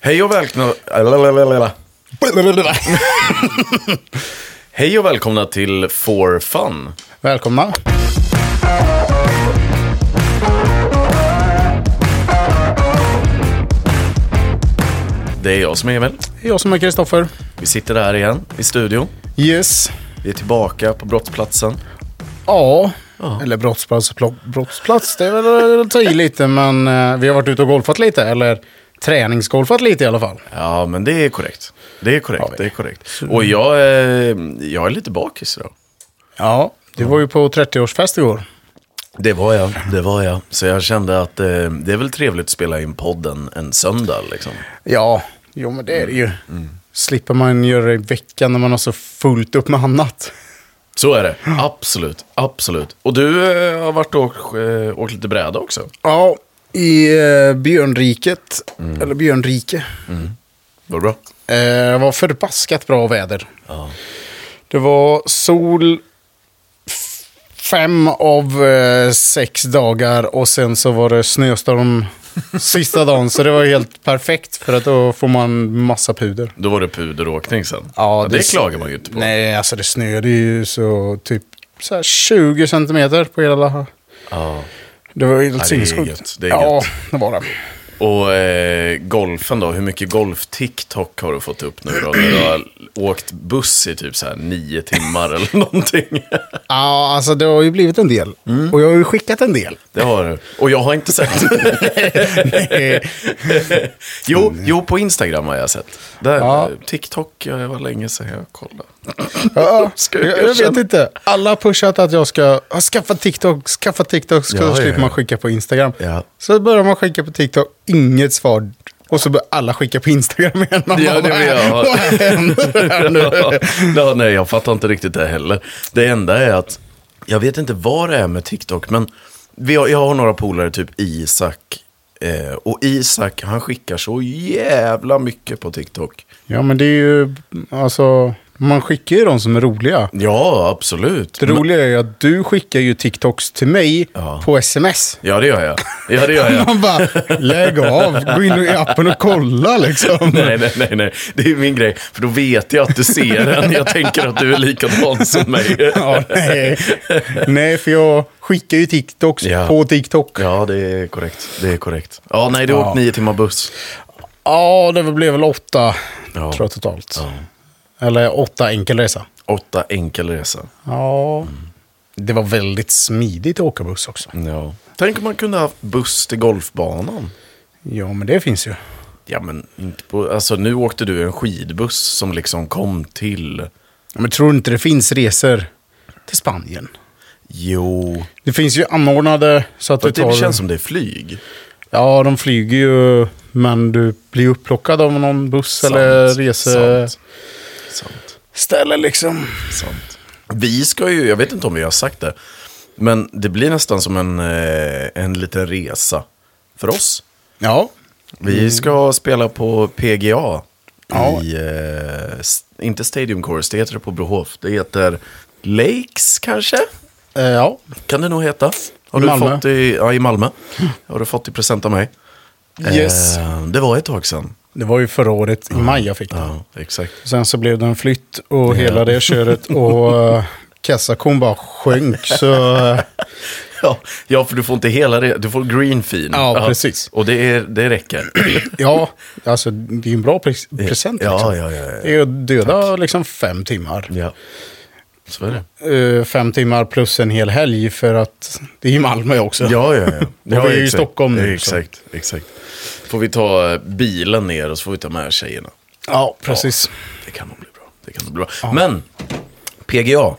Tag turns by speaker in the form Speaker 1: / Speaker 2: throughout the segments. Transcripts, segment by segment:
Speaker 1: Hej och välkomna... Lalalala. Hej och välkomna till For Fun.
Speaker 2: Välkomna.
Speaker 1: Det är jag som är Emil.
Speaker 2: Jag som är Kristoffer.
Speaker 1: Vi sitter här igen i studion.
Speaker 2: Yes.
Speaker 1: Vi är tillbaka på brottsplatsen.
Speaker 2: Ja. Eller brottsplats. plo- Brottsplats, det är väl att ta i lite, men eh, vi har varit ute och golfat lite. Eller träningsgolfat lite i alla fall.
Speaker 1: Ja, men det är korrekt. Det är korrekt,
Speaker 2: Ja, vi-
Speaker 1: det är korrekt. Och jag är, jag är lite bakis idag.
Speaker 2: Ja, du var ju på 30-årsfest igår.
Speaker 1: Det var jag, det var jag. Så jag kände att eh, det är väl trevligt att spela in podden en söndag liksom.
Speaker 2: Ja, Mm. jo men det är det ju. Slipper man göra det i veckan när man har så fullt upp med annat.
Speaker 1: Så är det, absolut, absolut. Och du eh, har varit och eh, åkt lite bräda också.
Speaker 2: Ja, i eh, Björnriket, eller Björnrike.
Speaker 1: Var det bra?
Speaker 2: Mm. Eh, det var förbaskat bra väder.
Speaker 1: Ja.
Speaker 2: Det var sol f- fem av eh, sex dagar och sen så var det snöstorm sista dagen. Så det var helt perfekt för att då får man massa puder.
Speaker 1: Då var det puderåkning sen. det, klagar man ju inte på.
Speaker 2: Nej, alltså det snöade ju så typ så här 20 centimeter på hela...
Speaker 1: Ja.
Speaker 2: Det var ju
Speaker 1: det är
Speaker 2: helt sinnessjukt.
Speaker 1: gött, det är
Speaker 2: Ja,
Speaker 1: gött.
Speaker 2: det var det.
Speaker 1: Och eh, golfen då, hur mycket golf-TikTok har du fått upp nu då? När du har åkt buss i typ så här nio timmar eller någonting.
Speaker 2: Ja, alltså det har ju blivit en del.
Speaker 1: Mm.
Speaker 2: Och jag har ju skickat en del.
Speaker 1: Det har du. Och jag har inte sett. jo, jo, på Instagram har jag sett. Där,
Speaker 2: Ja.
Speaker 1: eh, TikTok, ja, det var länge sedan jag kollade.
Speaker 2: Ja,
Speaker 1: Ska
Speaker 2: jag,
Speaker 1: jag
Speaker 2: jag vet
Speaker 1: erkänna?
Speaker 2: inte. Alla har pushat att jag ska "Ah, skaffa TikTok, skaffa TikTok, så
Speaker 1: Ja, ja,
Speaker 2: slipper
Speaker 1: ja.
Speaker 2: man skicka på Instagram.
Speaker 1: Ja.
Speaker 2: Så börjar man skicka på TikTok, inget svar. Och så börjar alla skicka på Instagram igen. Man
Speaker 1: Ja,
Speaker 2: bara,
Speaker 1: det vill jag ha."
Speaker 2: Vad händer här nu?
Speaker 1: ja, nej, jag fattar inte riktigt det heller. Det enda är att, jag vet inte vad det är med TikTok, men vi har, jag har några polare, typ Isak. Eh, och Isak, han skickar så jävla mycket på TikTok.
Speaker 2: Ja, men det är ju, alltså, man skickar ju de som är roliga.
Speaker 1: Ja, absolut.
Speaker 2: Det roliga är ju att du skickar ju TikToks till mig
Speaker 1: Ja.
Speaker 2: på sms.
Speaker 1: Ja, det gör jag. Ja, det gör jag.
Speaker 2: Man bara, lägg av, gå in i appen och kolla liksom.
Speaker 1: Nej, nej, nej, nej. Det är min grej. För då vet jag att du ser den. Jag tänker att du är likadan som mig.
Speaker 2: Ja, nej. nej, för jag skickar ju TikToks
Speaker 1: Ja.
Speaker 2: på TikTok.
Speaker 1: Ja, det är korrekt. Det är korrekt. Ja, nej, du har
Speaker 2: Ja.
Speaker 1: åkt nio timmar buss.
Speaker 2: Ja, det blev väl åtta
Speaker 1: Ja.
Speaker 2: tror jag totalt.
Speaker 1: Ja.
Speaker 2: Eller åtta enkel resa.
Speaker 1: Åtta enkel resa.
Speaker 2: Ja. Det var väldigt smidigt att åka buss också.
Speaker 1: Ja. Tänk om man kunde ha buss till golfbanan.
Speaker 2: Ja, men det finns ju.
Speaker 1: Ja, men inte på... Alltså, nu åkte du en skidbuss som liksom kom till...
Speaker 2: Men tror du inte det finns resor till Spanien?
Speaker 1: Jo.
Speaker 2: Det finns ju anordnade så att du
Speaker 1: Det,
Speaker 2: tar...
Speaker 1: det känns som det är flyg.
Speaker 2: Ja, de flyger ju, men du blir upplockad av någon buss eller
Speaker 1: Sant,
Speaker 2: reseställe
Speaker 1: Sant. Sant.
Speaker 2: liksom.
Speaker 1: Sant. Vi ska ju, jag vet inte om vi har sagt det, men det blir nästan som en, eh, en liten resa för oss.
Speaker 2: Ja,
Speaker 1: Vi ska spela på PGA.
Speaker 2: Mm. Ja.
Speaker 1: I, eh, s- inte Stadium Chorus, det heter det på Brohof. Det heter Lakes kanske?
Speaker 2: eh, ja.
Speaker 1: Kan det nog heta. Har du
Speaker 2: Malmö.
Speaker 1: fått i, ja, i Malmö. Har du fått i present av mig.
Speaker 2: Yes.
Speaker 1: Eh, det var ett tag sedan.
Speaker 2: Det var ju förra året i maj jag fick den.
Speaker 1: Ja, exakt.
Speaker 2: Sen så blev det en flytt och hela det köret och eh, kassakon bara sjönk. Så eh,
Speaker 1: Ja, ja, för du får inte hela det. Du får green fin.
Speaker 2: Ja, precis.
Speaker 1: Och det, är, det räcker.
Speaker 2: ja, alltså det är ju en bra pres- present.
Speaker 1: Ja,
Speaker 2: liksom.
Speaker 1: ja, ja, ja.
Speaker 2: Det är ju att döda liksom fem timmar.
Speaker 1: Ja. Så är det.
Speaker 2: Eh, fem timmar plus en hel helg för att det är ju Malmö också.
Speaker 1: Ja, ja, ja. ja
Speaker 2: vi är ju i
Speaker 1: exakt.
Speaker 2: Stockholm nu,
Speaker 1: Ja,
Speaker 2: så.
Speaker 1: Exakt, exakt. Får vi ta eh, bilen ner och så får vi ta med tjejerna.
Speaker 2: Ja, precis.
Speaker 1: Det kan nog bli bra. Det kan nog bli bra. Men, PGA.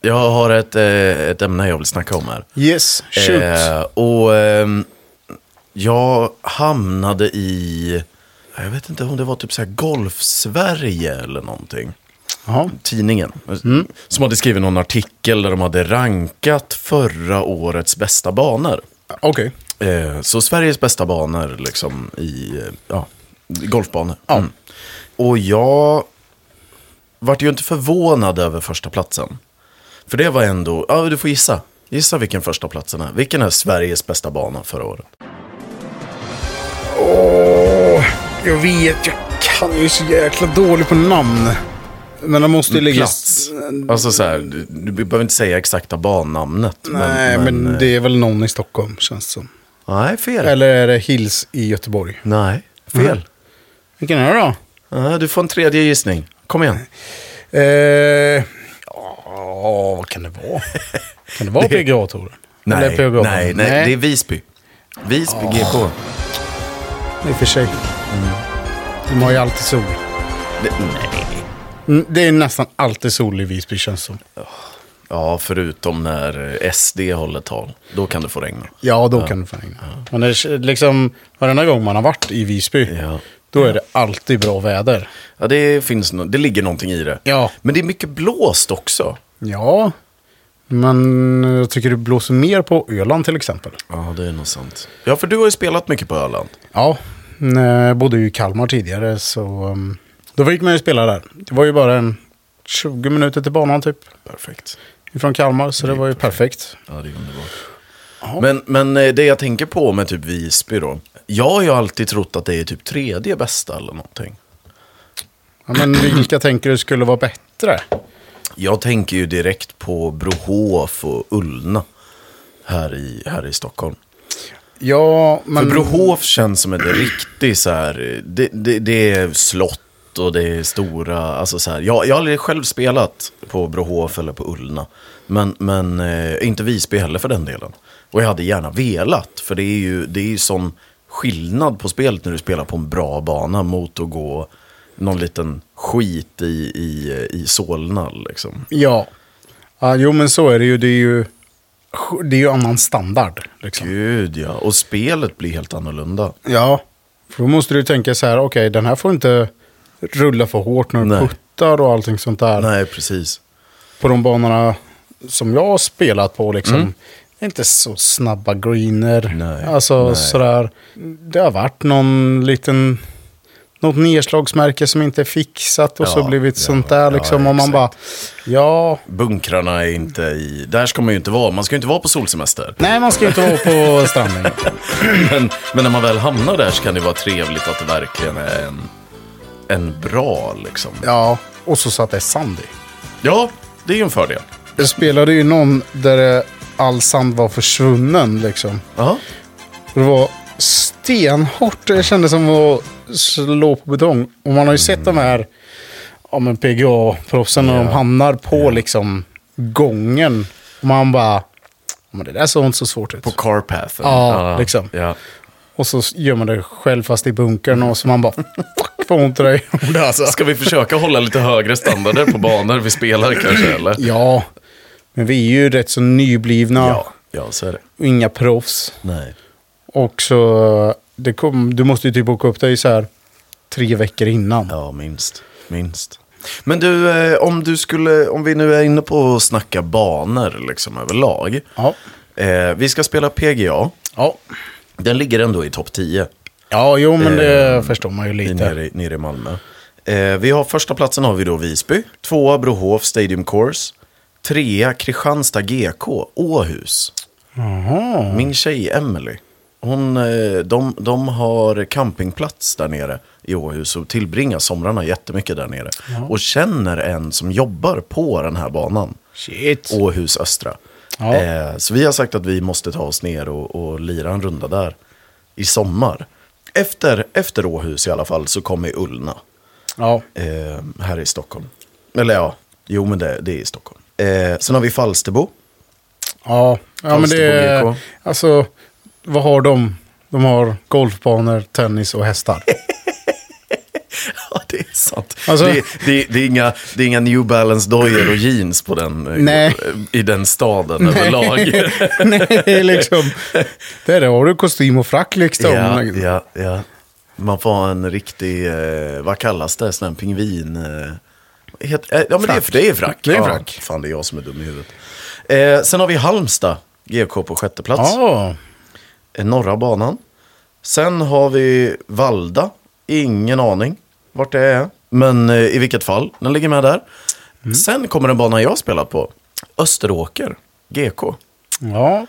Speaker 1: Jag har ett, eh, ett ämne jag vill snacka om här.
Speaker 2: Yes, shoot.
Speaker 1: Eh, och ehm, jag hamnade i, jag vet inte om det var typ så här Golf-Sverige eller någonting.
Speaker 2: Ja.
Speaker 1: tidningen. Som hade skrivit någon artikel där de hade rankat förra årets bästa banor.
Speaker 2: Okej.
Speaker 1: Eh, så Sveriges bästa banor liksom i eh, ja, golfbanor. Mm. Och jag vart ju inte förvånad över första platsen. För det var ändå, ja du får gissa. Gissa vilken första platsen är. Vilken är Sveriges bästa bana förra året?
Speaker 2: Jag vet, jag kan jag är så jäkla dålig på namn. Men de måste ju ligga... i-
Speaker 1: Plats. Alltså så här, du, du behöver inte säga exakta bannamnet.
Speaker 2: Nej, men,
Speaker 1: eh,
Speaker 2: det är väl någon i Stockholm känns det som.
Speaker 1: Nej, fel.
Speaker 2: Eller Mm. är det Hills i Göteborg?
Speaker 1: Nej, fel.
Speaker 2: Vilken är det då?
Speaker 1: Nej, du får en tredje gissning. Kom igen.
Speaker 2: Eh, ja, vad kan det vara? Kan det vara PGA-touren? Eller
Speaker 1: Nej,
Speaker 2: PGA-touren?
Speaker 1: nej, nej, det är Visby. Visby GK.
Speaker 2: Ah. I och för sig. De har ju alltid sol.
Speaker 1: Det, nej.
Speaker 2: Mm, Det är nästan alltid sol i Visby känns det som.
Speaker 1: Ja, förutom när SD håller tal. Då kan det få regna.
Speaker 2: Ja, då kan du fan regna. Men det är liksom, varenda gång man har varit i Visby,
Speaker 1: Ja.
Speaker 2: då är det alltid bra väder.
Speaker 1: Ja, det, finns no- det ligger någonting i det.
Speaker 2: Ja.
Speaker 1: Men det är mycket blåst också.
Speaker 2: Ja, men jag tycker det blåser mer på Öland till exempel.
Speaker 1: Ja, det är nog sant. Ja, för du har ju spelat mycket på Öland.
Speaker 2: Ja, när jag bodde ju i Kalmar tidigare så um, då fick man ju spela där. Det var ju bara en 20 minuter till banan typ
Speaker 1: Perfekt.
Speaker 2: ifrån Kalmar, så det var ju perfekt.
Speaker 1: Ja, det är underbart. Men, men eh, det jag tänker på med typ Visby då. Jag har ju alltid trott att det är typ tredje bästa eller någonting.
Speaker 2: Ja, men vilka tänker du skulle vara bättre?
Speaker 1: Jag tänker ju direkt på Brohof och Ullna här i, här i Stockholm.
Speaker 2: Ja, men...
Speaker 1: För Brohof känns som ett riktigt så här, det, det, det är slott och det är stora, alltså så här. Jag, jag har aldrig själv spelat på Brohof eller på Ullna. Men, men eh, inte Visby heller för den delen. Och jag hade gärna velat, för det är ju, det är ju sån skillnad på spelet när du spelar på en bra bana mot att gå någon liten skit i, i, i Solna liksom.
Speaker 2: Ja. ja, jo men så är det ju. Det är ju, det är ju annan standard. Liksom.
Speaker 1: Gud ja, och spelet blir helt annorlunda.
Speaker 2: Ja, för då måste du tänka så här, okej den här får inte rulla för hårt när du
Speaker 1: Nej.
Speaker 2: puttar och allting sånt där.
Speaker 1: Nej, precis.
Speaker 2: På de banorna som jag har spelat på liksom. Det är inte så snabba greener.
Speaker 1: Mm. Nej,
Speaker 2: alltså
Speaker 1: nej.
Speaker 2: sådär. Det har varit någon liten... Något nedslagsmärke som inte är fixat och så
Speaker 1: Ja,
Speaker 2: blivit
Speaker 1: ja,
Speaker 2: sånt där
Speaker 1: ja,
Speaker 2: liksom. och man
Speaker 1: exakt.
Speaker 2: bara, ja,
Speaker 1: bunkrarna är inte i... Där ska man ju inte vara. Man ska ju inte vara på solsemester.
Speaker 2: nej man ska ju inte vara på stranden.
Speaker 1: Men, men när man väl hamnar där så kan det vara trevligt att det verkligen är en, en bra liksom.
Speaker 2: Ja, och så satt det sand i.
Speaker 1: Ja, det är ju en fördel.
Speaker 2: Jag spelade ju någon där eh, all sand var försvunnen liksom.
Speaker 1: Ja.
Speaker 2: Och Det var stenhårt. Det kändes som att slå på betong. Och man har ju sett de här ja, men PGA-proffsen när de hamnar på liksom gången. Och man bara, ja, men det där såg inte så svårt ut.
Speaker 1: På carpathen.
Speaker 2: Ja, liksom.
Speaker 1: Ja.
Speaker 2: Och så gör man det själv fast i bunkern och så man bara, fuck vad ont det där gjorde alltså.
Speaker 1: Ska vi försöka hålla lite högre standarder på banor vi spelar kanske, eller?
Speaker 2: Ja, men vi är ju rätt så nyblivna
Speaker 1: Ja, ja så är det.
Speaker 2: och inga proffs.
Speaker 1: Nej.
Speaker 2: Och så, det kom, du måste ju typ åka upp dig så här tre veckor innan.
Speaker 1: Ja, minst. Minst. Men du, eh, om du skulle, om vi nu är inne på att snacka banor liksom överlag.
Speaker 2: Ja.
Speaker 1: Eh, vi ska spela PGA.
Speaker 2: Ja,
Speaker 1: Den ligger ändå i topp 10.
Speaker 2: ja jo men det förstår man ju
Speaker 1: i-
Speaker 2: lite.
Speaker 1: Nere, i- nere i Malmö. Eh, vi har första platsen har vi då Visby. Tvåa Brohof Stadium Course. Trea Kristianstad GK, Åhus.
Speaker 2: Jaha.
Speaker 1: Min tjej Emily. Hon, eh, de, de har campingplats där nere i Åhus och tillbringar somrarna jättemycket där nere. Och känner en som jobbar på den här banan.
Speaker 2: Shit.
Speaker 1: Åhus Östra.
Speaker 2: Ja.
Speaker 1: Eh, så vi har sagt att vi måste ta oss ner och, och lira en runda där i sommar. Efter, efter Åhus i alla fall så kommer Ullna
Speaker 2: Ja.
Speaker 1: eh, här i Stockholm. Eller ja, jo men det, det är i Stockholm. Eh, sen har vi Falsterbo.
Speaker 2: Ja. ja, men det
Speaker 1: Falsterbo
Speaker 2: är...
Speaker 1: GK.
Speaker 2: Alltså, vad har de? De har golfbanor, tennis och hästar.
Speaker 1: Ja, det är sant.
Speaker 2: Alltså-
Speaker 1: Det, det, det, är inga, det är inga New Balance-dojor och jeans på den, eh,
Speaker 2: Nej.
Speaker 1: i den staden överlag.
Speaker 2: Nej, liksom. Där har du kostym och frack liksom.
Speaker 1: Ja, ja, ja. Man får ha en riktig, eh, vad kallas det, sån här pingvin... Eh, vad heter, eh, ja, men det är,
Speaker 2: Frack.
Speaker 1: det är frack.
Speaker 2: Det är frack.
Speaker 1: Ja, fan, det är jag som är dum i huvudet. Eh, sen har vi Halmstad, GK på sjätte plats.
Speaker 2: Ja.
Speaker 1: Eh, Norra banan. Sen har vi Valda, ingen aning vart det är. Men eh, i vilket fall, den ligger med där.
Speaker 2: Mm.
Speaker 1: Sen kommer en bana jag har spelat på. Österåker, GK.
Speaker 2: ja.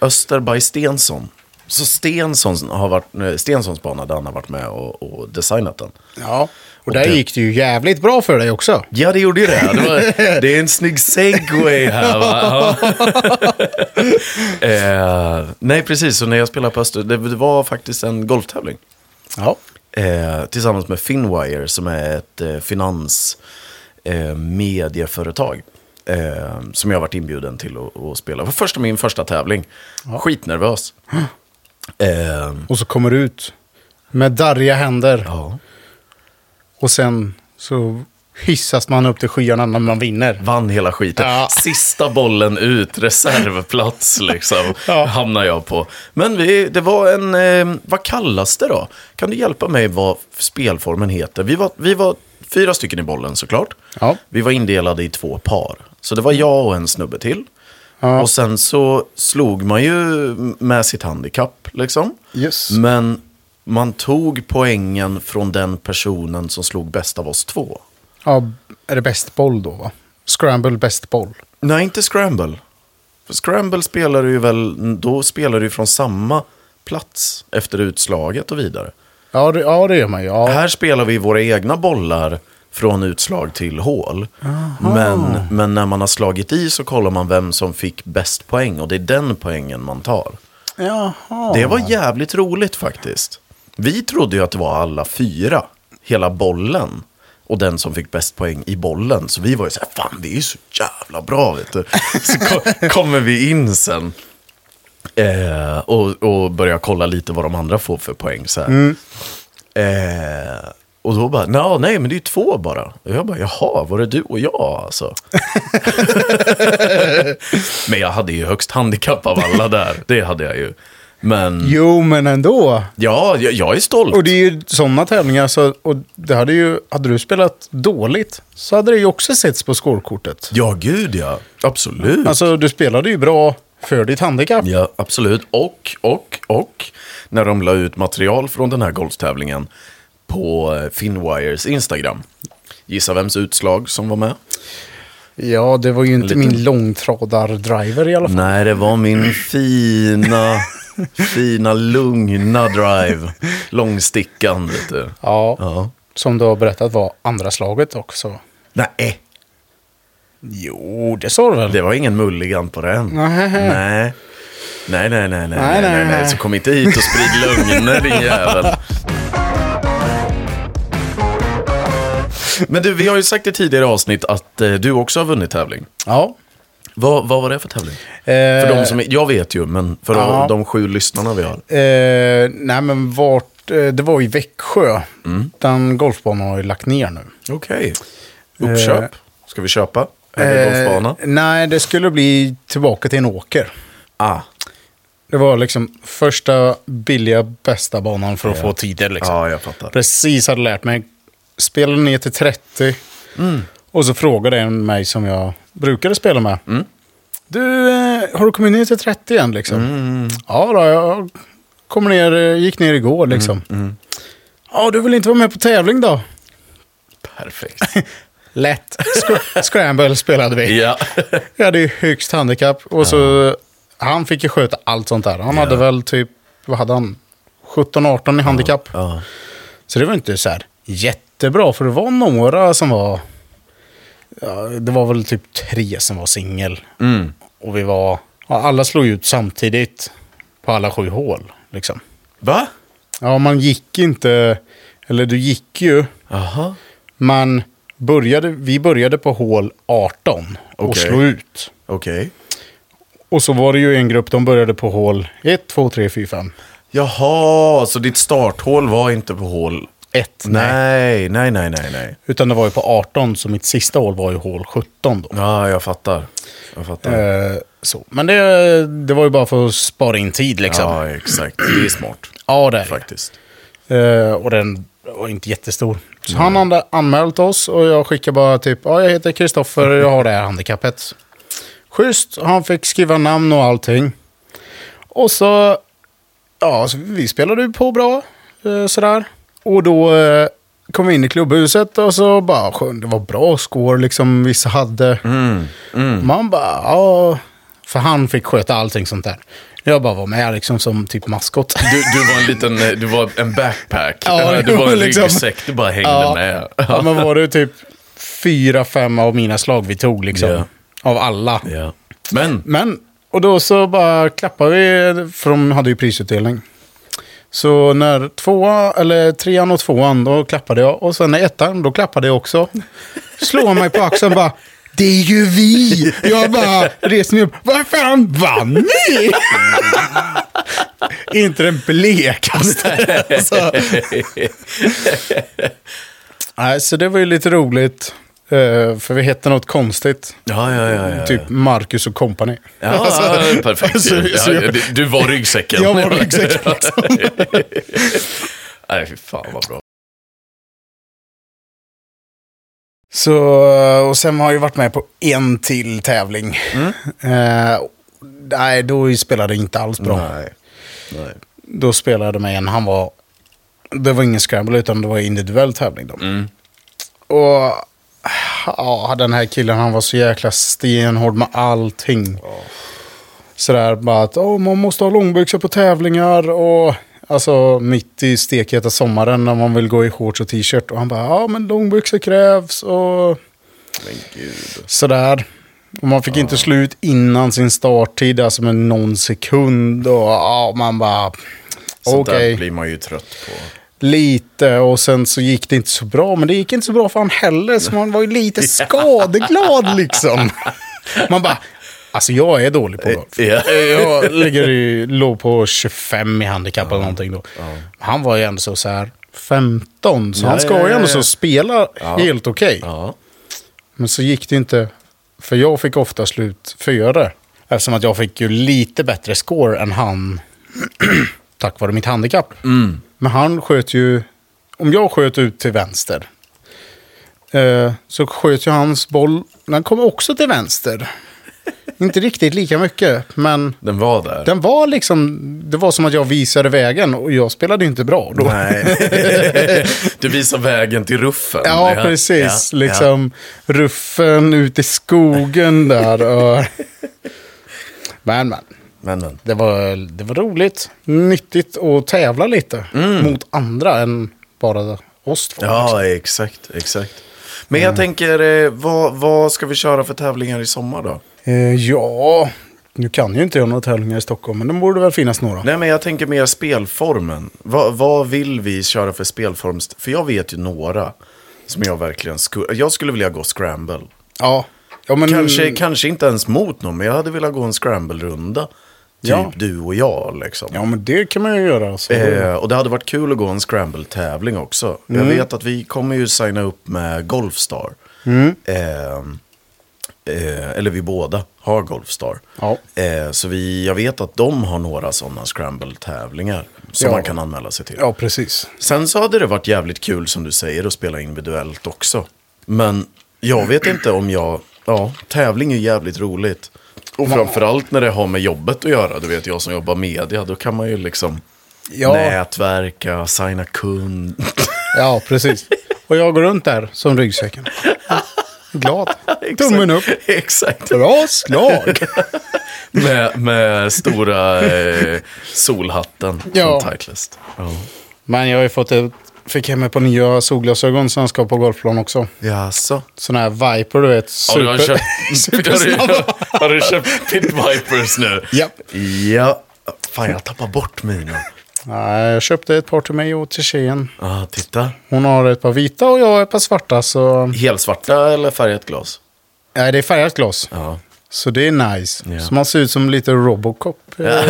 Speaker 1: Öster by Stensson. Så Stensson har varit, eh, Stenssons bana där han har varit med och, och designat den.
Speaker 2: Ja, och där
Speaker 1: det-
Speaker 2: gick det ju jävligt bra för dig också.
Speaker 1: Ja, det gjorde ju det. Det, var, det är en snygg segway här. Va? Ja. eh, nej, precis. Så när jag spelade på Öster, det, det var faktiskt en golftävling.
Speaker 2: Ja.
Speaker 1: Eh, tillsammans med Finwire som är ett eh, finans eh, medieföretag. Eh, som jag har varit inbjuden till att, att spela. Det var första, min första tävling. Skitnervös. Eh,
Speaker 2: Och så kommer du ut med darriga händer.
Speaker 1: ja.
Speaker 2: Och sen så hissas man upp till skyarna när man vinner.
Speaker 1: Vann hela skiten.
Speaker 2: Ja.
Speaker 1: Sista bollen ut, reservplats liksom,
Speaker 2: Ja.
Speaker 1: hamnar jag på. Men vi, det var en, eh, vad kallas det då? Kan du hjälpa mig vad spelformen heter? Vi var, vi var fyra stycken i bollen såklart.
Speaker 2: Ja.
Speaker 1: Vi var indelade i två par. Så det var jag och en snubbe till.
Speaker 2: Ja.
Speaker 1: Och sen så slog man ju med sitt handikapp liksom.
Speaker 2: Yes.
Speaker 1: Men man tog poängen från den personen som slog bäst av oss två.
Speaker 2: Ja, är det bäst boll då va? Scramble bäst boll.
Speaker 1: Nej, inte Scramble. För Scramble spelar du ju väl, då spelar du ju från samma plats efter utslaget och vidare.
Speaker 2: Ja, det, ja, det gör man ju. Ja.
Speaker 1: Här spelar vi våra egna bollar från utslag till hål. Men, men när man har slagit i så kollar man vem som fick bäst poäng och det är den poängen man tar.
Speaker 2: Jaha.
Speaker 1: Det var jävligt roligt faktiskt. Vi trodde ju att det var alla fyra, hela bollen. Och den som fick bäst poäng i bollen. Så vi var ju så här, fan vi är ju så jävla bra vet du. Så ko- kommer vi in sen. Eh, och, och börjar kolla lite vad de andra får för poäng så här. Eh, och då bara, "Nå, nej men det är ju två bara. Och jag bara, jaha, var det du och jag alltså? men jag hade ju högst handikapp av alla där, det hade jag ju. Men
Speaker 2: Jo, men ändå.
Speaker 1: ja, jag, jag är stolt.
Speaker 2: Och det är ju sådana tävlingar. Så, och det hade, ju, hade du spelat dåligt så hade det ju också setts på skolkortet.
Speaker 1: Ja, gud ja. Absolut.
Speaker 2: Alltså, du spelade ju bra för ditt handikapp.
Speaker 1: Ja, absolut. Och, och, och när de la ut material från den här golftävlingen på eh, Finwires Instagram. Gissa vems utslag som var med?
Speaker 2: Ja, det var ju inte
Speaker 1: Lite.
Speaker 2: min långtradar-driver i alla fall.
Speaker 1: Nej, det var min fina, fina lugna drive. Långstickan, vet du.
Speaker 2: Mm. Ja.
Speaker 1: Ja.
Speaker 2: Som du har berättat var andra slaget också.
Speaker 1: Nej,
Speaker 2: Jo, Oh, det sa du väl?
Speaker 1: det var ingen mulligan på den.
Speaker 2: Nej.
Speaker 1: Nej. Nej, nej, nej, nej, nej,
Speaker 2: Nej,
Speaker 1: nej,
Speaker 2: nej,
Speaker 1: nej.
Speaker 2: nej.
Speaker 1: Så kom inte hit och sprid lögner, din jävel. Men du, vi har ju sagt i tidigare avsnitt att eh, du också har vunnit tävling.
Speaker 2: Ja.
Speaker 1: Vad, vad var det för tävling?
Speaker 2: Eh,
Speaker 1: För de som, är- jag vet ju, men för
Speaker 2: Ja.
Speaker 1: de sju lyssnarna vi har.
Speaker 2: eh, nej, men vart... Eh, det var i Växjö. Den golfbanan har ju lagt ner nu.
Speaker 1: Okej. Uppköp? Ska vi köpa? Är det golfbana?
Speaker 2: Eh, nej, det skulle bli tillbaka till en åker.
Speaker 1: Ah.
Speaker 2: Det var liksom första billiga bästa banan för att få tider. Liksom.
Speaker 1: Ja, jag fattar.
Speaker 2: Precis hade lärt mig. Spelade ner till 30.
Speaker 1: Mm.
Speaker 2: Och så frågade en mig som jag brukade spela med.
Speaker 1: Mm.
Speaker 2: Du, eh, har du kommit ner till 30 igen liksom?
Speaker 1: Mm,
Speaker 2: Ja då, jag kom ner, eh, gick ner igår
Speaker 1: Mm,
Speaker 2: liksom. Ja, du vill inte vara med på tävling då?
Speaker 1: Perfekt.
Speaker 2: Lätt. Scr- Scramble spelade vi.
Speaker 1: ja.
Speaker 2: Jag hade ju högst handikapp. Och så, han fick ju sköta allt sånt där. Han hade väl typ, vad hade han? 17-18 i handikapp.
Speaker 1: ja.
Speaker 2: Så det var inte så här jättebra, för det var några som var... Ja, det var väl typ tre som var singel.
Speaker 1: Mm.
Speaker 2: Och vi var... Ja, alla slog ut samtidigt på alla sju hål. Liksom.
Speaker 1: Va?
Speaker 2: Ja, man gick inte... Eller du gick ju,
Speaker 1: Jaha.
Speaker 2: men började, vi började på hål 18 och
Speaker 1: Okej.
Speaker 2: slog ut.
Speaker 1: Okej.
Speaker 2: Och så var det ju en grupp, de började på hål 1, 2, 3, 4, 5.
Speaker 1: Jaha, så ditt starthål var inte på hål
Speaker 2: 1, nej.
Speaker 1: Nej, nej, nej, nej, nej.
Speaker 2: Utan det var ju på 18, så mitt sista hål var ju hål 17 då.
Speaker 1: Ja, jag fattar. Jag fattar.
Speaker 2: Eh, så. Men det, det var ju bara för att spara in tid liksom. Ja,
Speaker 1: Ja, exakt. Det är smart,
Speaker 2: det är
Speaker 1: faktiskt.
Speaker 2: det. eh, Och den var inte jättestor. Så han hade anmält oss och jag skickade bara typ, ja jag heter Kristoffer jag har det här handikappet. Schysst, han fick skriva namn och allting. Och så, ja, så vi spelade ju på bra, eh, sådär. Och då eh, kom vi in i klubbhuset och så bara, skön, det var bra score liksom, vissa hade.
Speaker 1: Mm. Mm.
Speaker 2: Man bara, ja. För han fick sköta allting sånt där. Jag bara var med liksom som typ maskot.
Speaker 1: Du, du var en liten, eh, du var en backpack.
Speaker 2: Ja,
Speaker 1: Eh, du var en
Speaker 2: liksom.
Speaker 1: ryggsäck, du bara hängde
Speaker 2: Ja.
Speaker 1: med.
Speaker 2: Ja, men var det typ fyra, fem av mina slag vi tog liksom.
Speaker 1: Ja.
Speaker 2: Av alla.
Speaker 1: Ja. Men,
Speaker 2: Men, och då så bara klappade vi, för de hade ju prisutdelning. Så när tvåa, eller trean och tvåan, då klappade jag. Och sen när ettan, då klappade jag också. Slår han mig på axeln bara, det är ju vi! Jag bara reser mig upp, vad fan vann ni? Inte den blekaste. Alltså. Nej, så det var ju lite roligt. eh, För vi hette något konstigt.
Speaker 1: ja, ja, ja. ja.
Speaker 2: Typ Marcus och kompani.
Speaker 1: Ja, ja, perfekt.
Speaker 2: alltså,
Speaker 1: ja,
Speaker 2: så jag-
Speaker 1: du, du var ryggsäcken.
Speaker 2: Jag var ryggsäcken,
Speaker 1: Nej, fy fan vad bra.
Speaker 2: Så, och sen har jag ju varit med på en till tävling. Eh, nej, då spelade det inte alls bra.
Speaker 1: Nej. Nej.
Speaker 2: Då spelade med en, han var... Det var ingen scramble, utan det var individuell tävling. Då.
Speaker 1: Mm.
Speaker 2: Och ja, den här killen, han var så jäkla stenhård med allting. Sådär bara att "Åh, man måste ha långbyxor på tävlingar och... Alltså mitt i stekheta sommaren när man vill gå i shorts och t-shirt. Och han bara, ja men långbyxor krävs och
Speaker 1: Men gud.
Speaker 2: sådär. Och man fick inte slut innan sin starttid, alltså med någon sekund. Och ja, man bara...
Speaker 1: Sånt
Speaker 2: Okej.
Speaker 1: där blir man ju trött på.
Speaker 2: Lite och sen så gick det inte så bra. Men det gick inte så bra för han heller. Så man var ju lite skadeglad liksom. Man bara, alltså jag är dålig på golf.
Speaker 1: Ja.
Speaker 2: Jag ligger i, låg på 25 i handikapp eller någonting då. Han var ju ändå så, så här 15. Så
Speaker 1: Ja,
Speaker 2: han ska
Speaker 1: ja,
Speaker 2: ju
Speaker 1: ja,
Speaker 2: ändå
Speaker 1: ja.
Speaker 2: så spela helt okej.
Speaker 1: Ja.
Speaker 2: Men så gick det inte. För jag fick ofta slut före. Eftersom att jag fick ju lite bättre score än han. tack vare mitt handikapp. Men han sköt ju... Om jag sköt ut till vänster. Eh, så sköt ju hans boll... Den kom också till vänster. inte riktigt lika mycket. Men
Speaker 1: Den var där.
Speaker 2: den var liksom... Det var som att jag visade vägen. Och jag spelade ju inte bra då.
Speaker 1: Nej. Du visar vägen till ruffen.
Speaker 2: Ja, precis. liksom ruffen ute i skogen där. Och... Men, men.
Speaker 1: Ja. Men, men.
Speaker 2: Det var, det var roligt. Mm. Nyttigt att tävla lite mot andra än bara oss två.
Speaker 1: Ja, exakt. Exakt. Men
Speaker 2: Mm.
Speaker 1: jag tänker, eh, vad, vad ska vi köra för tävlingar i sommar då?
Speaker 2: Eh, ja, nu kan ju inte jag några tävlingar i Stockholm, men det borde väl finnas några.
Speaker 1: Nej, men jag tänker mer spelformen. Vad, vad vill vi köra för spelform? För jag vet ju några som jag verkligen skulle... Jag skulle vilja gå scramble.
Speaker 2: Mm. Ja. ja men,
Speaker 1: Kanske, kanske inte ens mot någon, men jag hade velat gå en scramble-runda. Typ
Speaker 2: Ja.
Speaker 1: du och jag liksom.
Speaker 2: Ja, men det kan man ju göra. Alltså.
Speaker 1: Eh, och det hade varit kul att gå en scramble-tävling också.
Speaker 2: Mm.
Speaker 1: Jag vet att vi kommer ju signa upp med Golfstar.
Speaker 2: Mm.
Speaker 1: Eh, eh, eller vi båda har Golfstar.
Speaker 2: Ja.
Speaker 1: Eh, så vi, jag vet att de har några sådana scramble-tävlingar som
Speaker 2: Ja.
Speaker 1: man kan anmäla sig till.
Speaker 2: Ja, precis.
Speaker 1: Sen så hade det varit jävligt kul som du säger att spela individuellt också. Men jag vet inte om jag, ja, tävling är jävligt roligt. Och framförallt när det har med jobbet att göra, du vet jag som jobbar media, då kan man ju liksom
Speaker 2: Ja.
Speaker 1: nätverka, signa kund.
Speaker 2: Ja, precis. Och jag går runt där som ryggsäcken. Glad.
Speaker 1: Exakt.
Speaker 2: Tummen upp.
Speaker 1: Exakt.
Speaker 2: Bra slag!
Speaker 1: Med, med stora eh, solhatten
Speaker 2: Ja.
Speaker 1: som tightlist. Ja.
Speaker 2: Men jag har ju fått ett, fick hem ett par nya solglasögon som jag ska ha på golfplan också.
Speaker 1: Jaså?
Speaker 2: Sådana här Viper, du vet.
Speaker 1: Har
Speaker 2: Super.
Speaker 1: du, har, köpt, har, du,
Speaker 2: supersnabba.
Speaker 1: har du köpt Pit Vipers nu?
Speaker 2: Japp.
Speaker 1: Ja. Fan, jag tappar bort mina.
Speaker 2: Nej, jag köpte ett par till mig och till tjejen.
Speaker 1: Ah, titta.
Speaker 2: Hon har ett par vita och jag har ett par svarta. Så...
Speaker 1: Helsvarta eller färgat glas?
Speaker 2: Nej, det är färgat glas.
Speaker 1: Ja.
Speaker 2: Så det är nice.
Speaker 1: Ja.
Speaker 2: Så man ser ut som lite Robocop. Ja.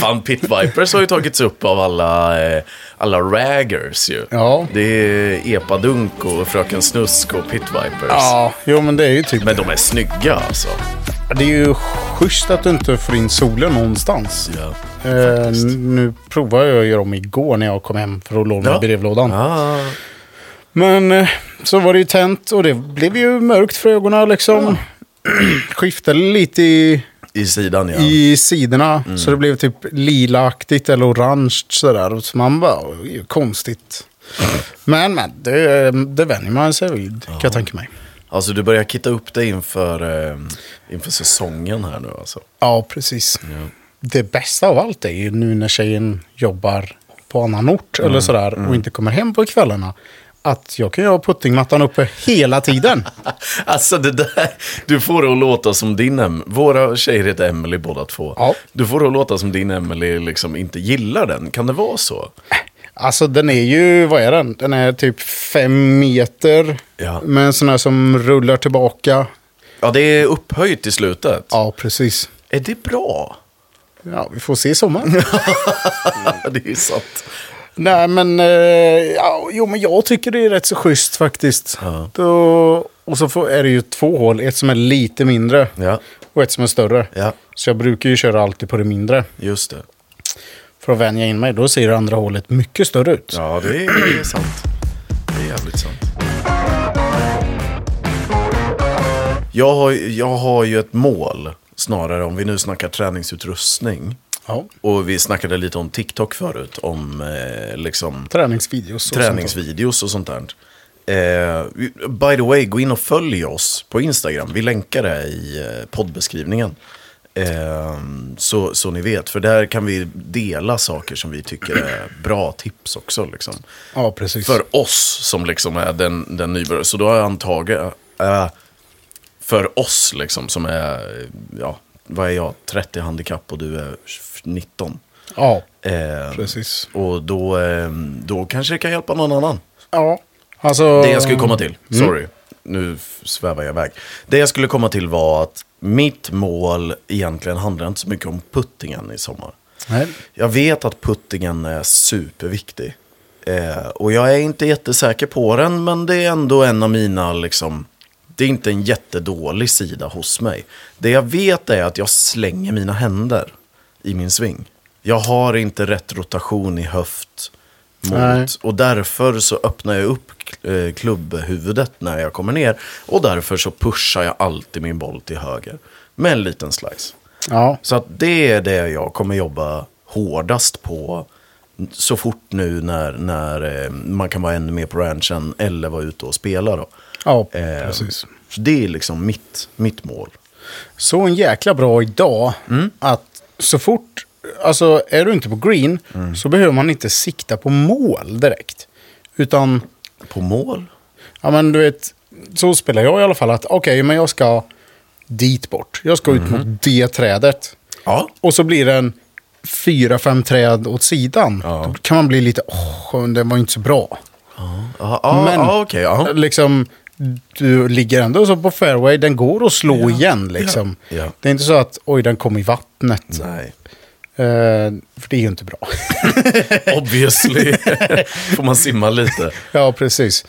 Speaker 1: Fan, Pit Vipers har ju tagits upp av alla, eh, alla raggers ju.
Speaker 2: Ja.
Speaker 1: Det är Epadunk och Fröken Snusk och Pit Vipers.
Speaker 2: jo men det är ju typ
Speaker 1: Men de är snygga alltså.
Speaker 2: Det är ju schysst att du inte får in solen någonstans.
Speaker 1: Ja.
Speaker 2: Eh, nu provade jag ju dem igår när jag kom hem för att låna
Speaker 1: Ja.
Speaker 2: brevlådan.
Speaker 1: Ah.
Speaker 2: Men eh, så var det ju tänt och det blev ju mörkt för ögonen liksom. Skiftade lite i,
Speaker 1: I sidan ja. Mm.
Speaker 2: i sidorna så det blev typ lilaaktigt eller orange sådär. Så man bara, "Oj, det är ju konstigt. Men men, det, det vänjer man sig vid kan jag tänka mig.
Speaker 1: Ja, Alltså du börjar kitta upp dig inför, eh, inför säsongen här nu alltså.
Speaker 2: Ja, precis. Det bästa av allt är ju nu när tjejen jobbar på annan ort
Speaker 1: Mm.
Speaker 2: eller sådär och inte kommer hem på kvällarna. Att jag kan ju ha puttingmattan uppe hela tiden.
Speaker 1: Alltså det där, du får det att låta som din Em. Våra tjejer heter Emily båda två.
Speaker 2: Ja.
Speaker 1: Du får det att låta som din Emily liksom inte gillar den. Kan det vara så?
Speaker 2: Alltså den är ju, vad är den? Den är typ fem meter
Speaker 1: Ja.
Speaker 2: med en sån här som rullar tillbaka.
Speaker 1: Ja, det är upphöjt i slutet.
Speaker 2: Ja, precis.
Speaker 1: Är det bra?
Speaker 2: Ja, vi får se i sommar.
Speaker 1: det är ju sant.
Speaker 2: Nej, men, eh, ja, jo, men jag tycker det är rätt så schysst faktiskt.
Speaker 1: Ja.
Speaker 2: Då, och så får, är det ju två hål, ett som är lite mindre
Speaker 1: Ja,
Speaker 2: och ett som är större.
Speaker 1: ja
Speaker 2: Så jag brukar ju köra alltid på det mindre
Speaker 1: just det.
Speaker 2: för att vänja in mig. Då ser det andra hålet mycket större ut.
Speaker 1: Ja, det är, det är sant. Det är jävligt sant. Jag har, jag har ju ett mål, snarare om vi nu snackar träningsutrustning.
Speaker 2: Ja.
Speaker 1: Och vi snackade lite om TikTok förut, om eh, liksom
Speaker 2: Träningsvideos. och sånt
Speaker 1: träningsvideos och sånt där. Eh, by the way, gå in och följ oss på Instagram. Vi länkar det i eh, poddbeskrivningen. Eh, så, så ni vet, för där kan vi dela saker som vi tycker är bra tips också. Liksom.
Speaker 2: där. Ja, precis.
Speaker 1: För oss som liksom är den, den nybörjare. Så då har jag antagit, eh, för oss liksom som är, eh, ja, vad är jag, 30 handikapp och du är 19.
Speaker 2: Ja,
Speaker 1: Eh,
Speaker 2: precis.
Speaker 1: och då, eh, då kanske det kan hjälpa någon annan.
Speaker 2: Ja, alltså...
Speaker 1: Det jag skulle komma till, sorry, nu f- svävar jag iväg. Det jag skulle komma till var att mitt mål egentligen handlar inte så mycket om puttingen i sommar.
Speaker 2: Nej.
Speaker 1: Jag vet att puttingen är superviktig. Eh, och jag är inte jättesäker på den, men det är ändå en av mina, liksom, det är inte en jättedålig sida hos mig. Det jag vet är att jag slänger mina händer i min sving. Jag har inte rätt rotation i höft mot,
Speaker 2: Nej.
Speaker 1: och därför så öppnar jag upp eh, klubbhuvudet när jag kommer ner. Och därför så pushar jag alltid min boll till höger med en liten slice.
Speaker 2: Ja,
Speaker 1: Så att det är det jag kommer jobba hårdast på så fort nu när, när eh, man kan vara ännu mer på ranchen eller vara ute och spela. Då.
Speaker 2: ja
Speaker 1: Eh,
Speaker 2: precis.
Speaker 1: Så det är liksom mitt, mitt mål.
Speaker 2: Så en jäkla bra idag
Speaker 1: Mm.
Speaker 2: att så fort, alltså är du inte på green
Speaker 1: Mm.
Speaker 2: så behöver man inte sikta på mål direkt. Utan,
Speaker 1: På mål?
Speaker 2: ja men du vet, så spelar jag i alla fall att okej, men jag ska dit bort. Jag ska ut
Speaker 1: Mm.
Speaker 2: mot det trädet.
Speaker 1: Ja.
Speaker 2: Och så blir det en fyra, fem träd åt sidan.
Speaker 1: Ja.
Speaker 2: Då kan man bli lite, åh, den var inte så bra.
Speaker 1: Ja, ja,
Speaker 2: Men-
Speaker 1: ja okej. ja.
Speaker 2: Liksom, du ligger ändå så på fairway, den går att slå igen liksom.
Speaker 1: Ja. Ja.
Speaker 2: Det är inte så att, oj, den kom i vattnet.
Speaker 1: Nej.
Speaker 2: Eh, för det är ju inte bra.
Speaker 1: Obviously. Får man simma lite?
Speaker 2: ja, precis.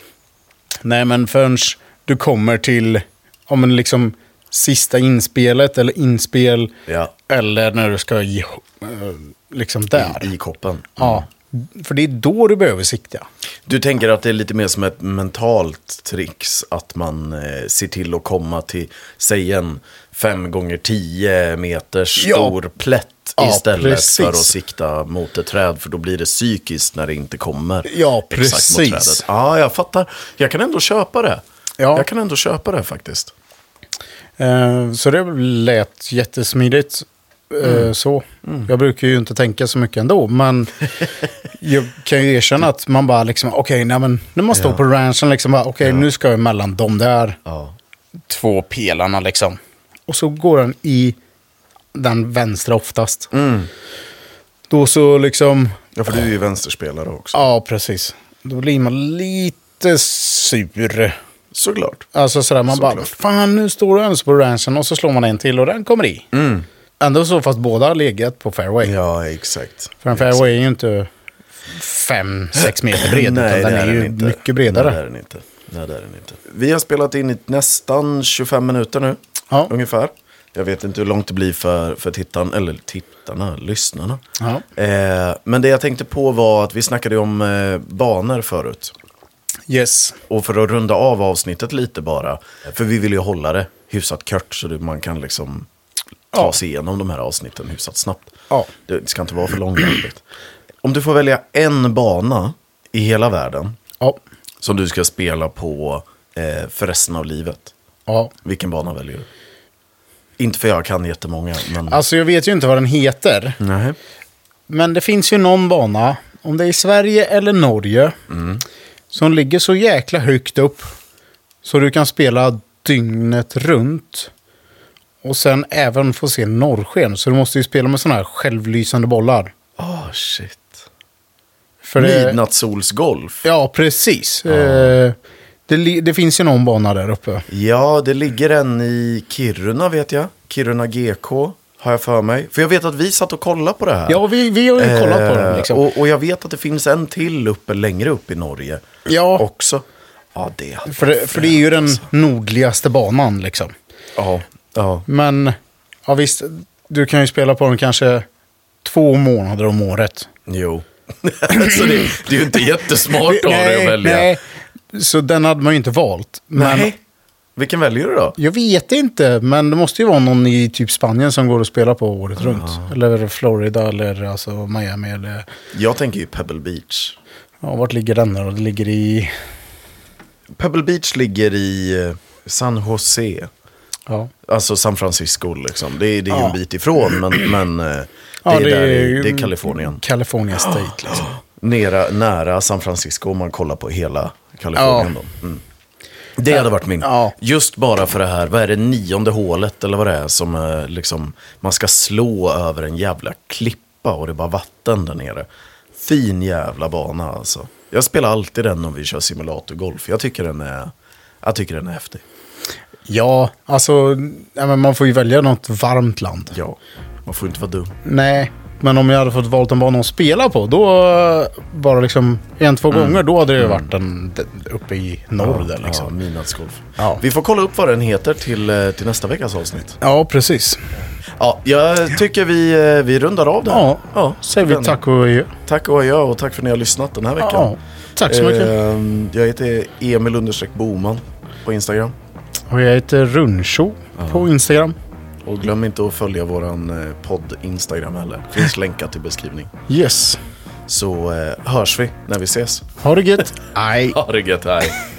Speaker 2: Nej, men förrän du kommer till om en liksom sista inspelet eller inspel.
Speaker 1: Ja.
Speaker 2: Eller när du ska i, eh, liksom där.
Speaker 1: I koppen.
Speaker 2: Ja, för det är då du behöver sikta.
Speaker 1: Du tänker att det är lite mer som ett mentalt tricks att man eh, ser till att komma till, säg en 5 gånger 10 meters
Speaker 2: Ja.
Speaker 1: stor plätt
Speaker 2: Ja,
Speaker 1: istället
Speaker 2: precis.
Speaker 1: för att sikta mot ett träd, för då blir det psykiskt när det inte kommer
Speaker 2: Ja,
Speaker 1: exakt mot
Speaker 2: precis.
Speaker 1: trädet. Ja, jag fattar. Jag kan ändå köpa det.
Speaker 2: Ja.
Speaker 1: Jag kan ändå köpa det faktiskt.
Speaker 2: Eh, så det lät jättesmidigt. Eh, Så. Jag brukar ju inte tänka så mycket ändå, men jag kan ju erkänna att man bara liksom, okej, nej men när man står på ranchen liksom, bara, okej, nu ska jag mellan de där
Speaker 1: Ja.
Speaker 2: två pelarna liksom. Och så går den i den vänstra oftast. Då så liksom,
Speaker 1: för du är ju vänsterspelare också.
Speaker 2: ja precis, då blir man lite sur.
Speaker 1: Såklart.
Speaker 2: Alltså sådär, man bara,
Speaker 1: Såklart.
Speaker 2: fan nu står du ens på ranchen och så slår man en till och den kommer i. Ändå så fast båda har legat på fairway.
Speaker 1: Mm. Ja, exakt.
Speaker 2: För en fairway är ju inte fem sex meter bred, utan
Speaker 1: Nej,
Speaker 2: den
Speaker 1: det
Speaker 2: är ju
Speaker 1: inte.
Speaker 2: mycket
Speaker 1: Nej, det är
Speaker 2: bredare.
Speaker 1: den inte. Nej, det är den inte. Vi har spelat in i nästan 25 minuter nu,
Speaker 2: Ja.
Speaker 1: ungefär. Jag vet inte hur långt det blir för, för tittaren, eller tittarna, lyssnarna.
Speaker 2: Ja.
Speaker 1: Eh, men det jag tänkte på var att vi snackade om eh, banor förut.
Speaker 2: Yes.
Speaker 1: Och för att runda av avsnittet lite bara, för vi vill ju hålla det hyfsat kort så det, man kan liksom ta
Speaker 2: Ja.
Speaker 1: sig igenom de här avsnitten hyfsat snabbt.
Speaker 2: Ja.
Speaker 1: Det ska inte vara för långrandigt. Om du får välja en bana i hela världen
Speaker 2: Ja.
Speaker 1: som du ska spela på eh, för resten av livet?
Speaker 2: Ja.
Speaker 1: Vilken bana väljer du? Inte för jag kan jättemånga, men...
Speaker 2: Alltså jag vet ju inte vad den heter.
Speaker 1: Nej.
Speaker 2: Men det finns ju någon bana, om det är i Sverige eller Norge, som ligger så jäkla högt upp. Så du kan spela dygnet runt. Och sen även få se norrsken. Så du måste ju spela med sådana här självlysande bollar.
Speaker 1: Åh, Ah, shit.
Speaker 2: För det-
Speaker 1: Midnattssolsgolf.
Speaker 2: Ja, precis. Eh, Det, li- det finns ju någon bana där uppe.
Speaker 1: Ja, det ligger en i Kiruna vet jag. Kiruna GK har jag för mig. För jag vet att vi satt och kollade på det här.
Speaker 2: Ja, vi, vi har ju kollat på den.
Speaker 1: Eh,
Speaker 2: Liksom.
Speaker 1: Och, och jag vet att det finns en till uppe längre upp i Norge
Speaker 2: ja,
Speaker 1: också. Ja, det hade
Speaker 2: för,
Speaker 1: varit
Speaker 2: det- för det är ju den
Speaker 1: fränt, alltså.
Speaker 2: nordligaste banan liksom.
Speaker 1: Ja, ja.
Speaker 2: Men ja, visst, du kan ju spela på den kanske två månader om året.
Speaker 1: Jo. Så det, det är ju inte jättesmart av dig att välja.
Speaker 2: nej. Så den hade man ju inte valt. Men
Speaker 1: Nej. Vilken väljer du då?
Speaker 2: Jag vet inte, men det måste ju vara någon i typ Spanien som går att spela på året runt. Eller Florida eller alltså Miami eller...
Speaker 1: Jag tänker ju Pebble Beach.
Speaker 2: Ja, vart ligger den då? Det ligger i...
Speaker 1: Pebble Beach ligger i eh, San Jose.
Speaker 2: Ja.
Speaker 1: Alltså San Francisco liksom. Det är, det är ju en
Speaker 2: Ja.
Speaker 1: bit ifrån, men, men eh, det,
Speaker 2: Ja,
Speaker 1: är där, i-
Speaker 2: ju-
Speaker 1: det är Kalifornien.
Speaker 2: California State liksom.
Speaker 1: Nera, nära San Francisco om man kollar på hela Kalifornien. Då. Mm. Det hade varit min.
Speaker 2: Ja.
Speaker 1: Just bara för det här, vad är det nionde hålet eller vad det är som eh, liksom, man ska slå över en jävla klippa och det är bara vatten där nere. Fin jävla bana alltså. Jag spelar alltid den om vi kör simulatorgolf. Jag tycker den är, jag tycker den är häftig.
Speaker 2: Ja, alltså nej, men man får ju välja något varmt land.
Speaker 1: Ja, man får inte vara dum.
Speaker 2: Nej, men om jag hade fått valt en bana att spela på, då eh, bara liksom en, två gånger, då hade det varit en, d- uppe i norr där
Speaker 1: Mm. Ja,
Speaker 2: liksom.
Speaker 1: midnattsgolf.
Speaker 2: Ja.
Speaker 1: Vi får kolla upp vad den heter till, eh, till nästa veckas avsnitt.
Speaker 2: Ja, precis.
Speaker 1: Ja, jag tycker vi, eh, vi rundar av det här.
Speaker 2: Ja, säger vi
Speaker 1: den-
Speaker 2: tack och adjö.
Speaker 1: Tack och adjö och tack för att ni har lyssnat den här veckan.
Speaker 2: Ja, tack så mycket.
Speaker 1: Ehm, Jag heter Emil understreck Boman på Instagram.
Speaker 2: Och jag heter Runcho på Instagram.
Speaker 1: Och glöm inte att följa våran eh, podd Instagram heller. Finns länkat i beskrivning.
Speaker 2: Yes.
Speaker 1: Så eh, hörs vi när vi ses.
Speaker 2: Ha det gött. Aj.
Speaker 1: Ha det gött, hej.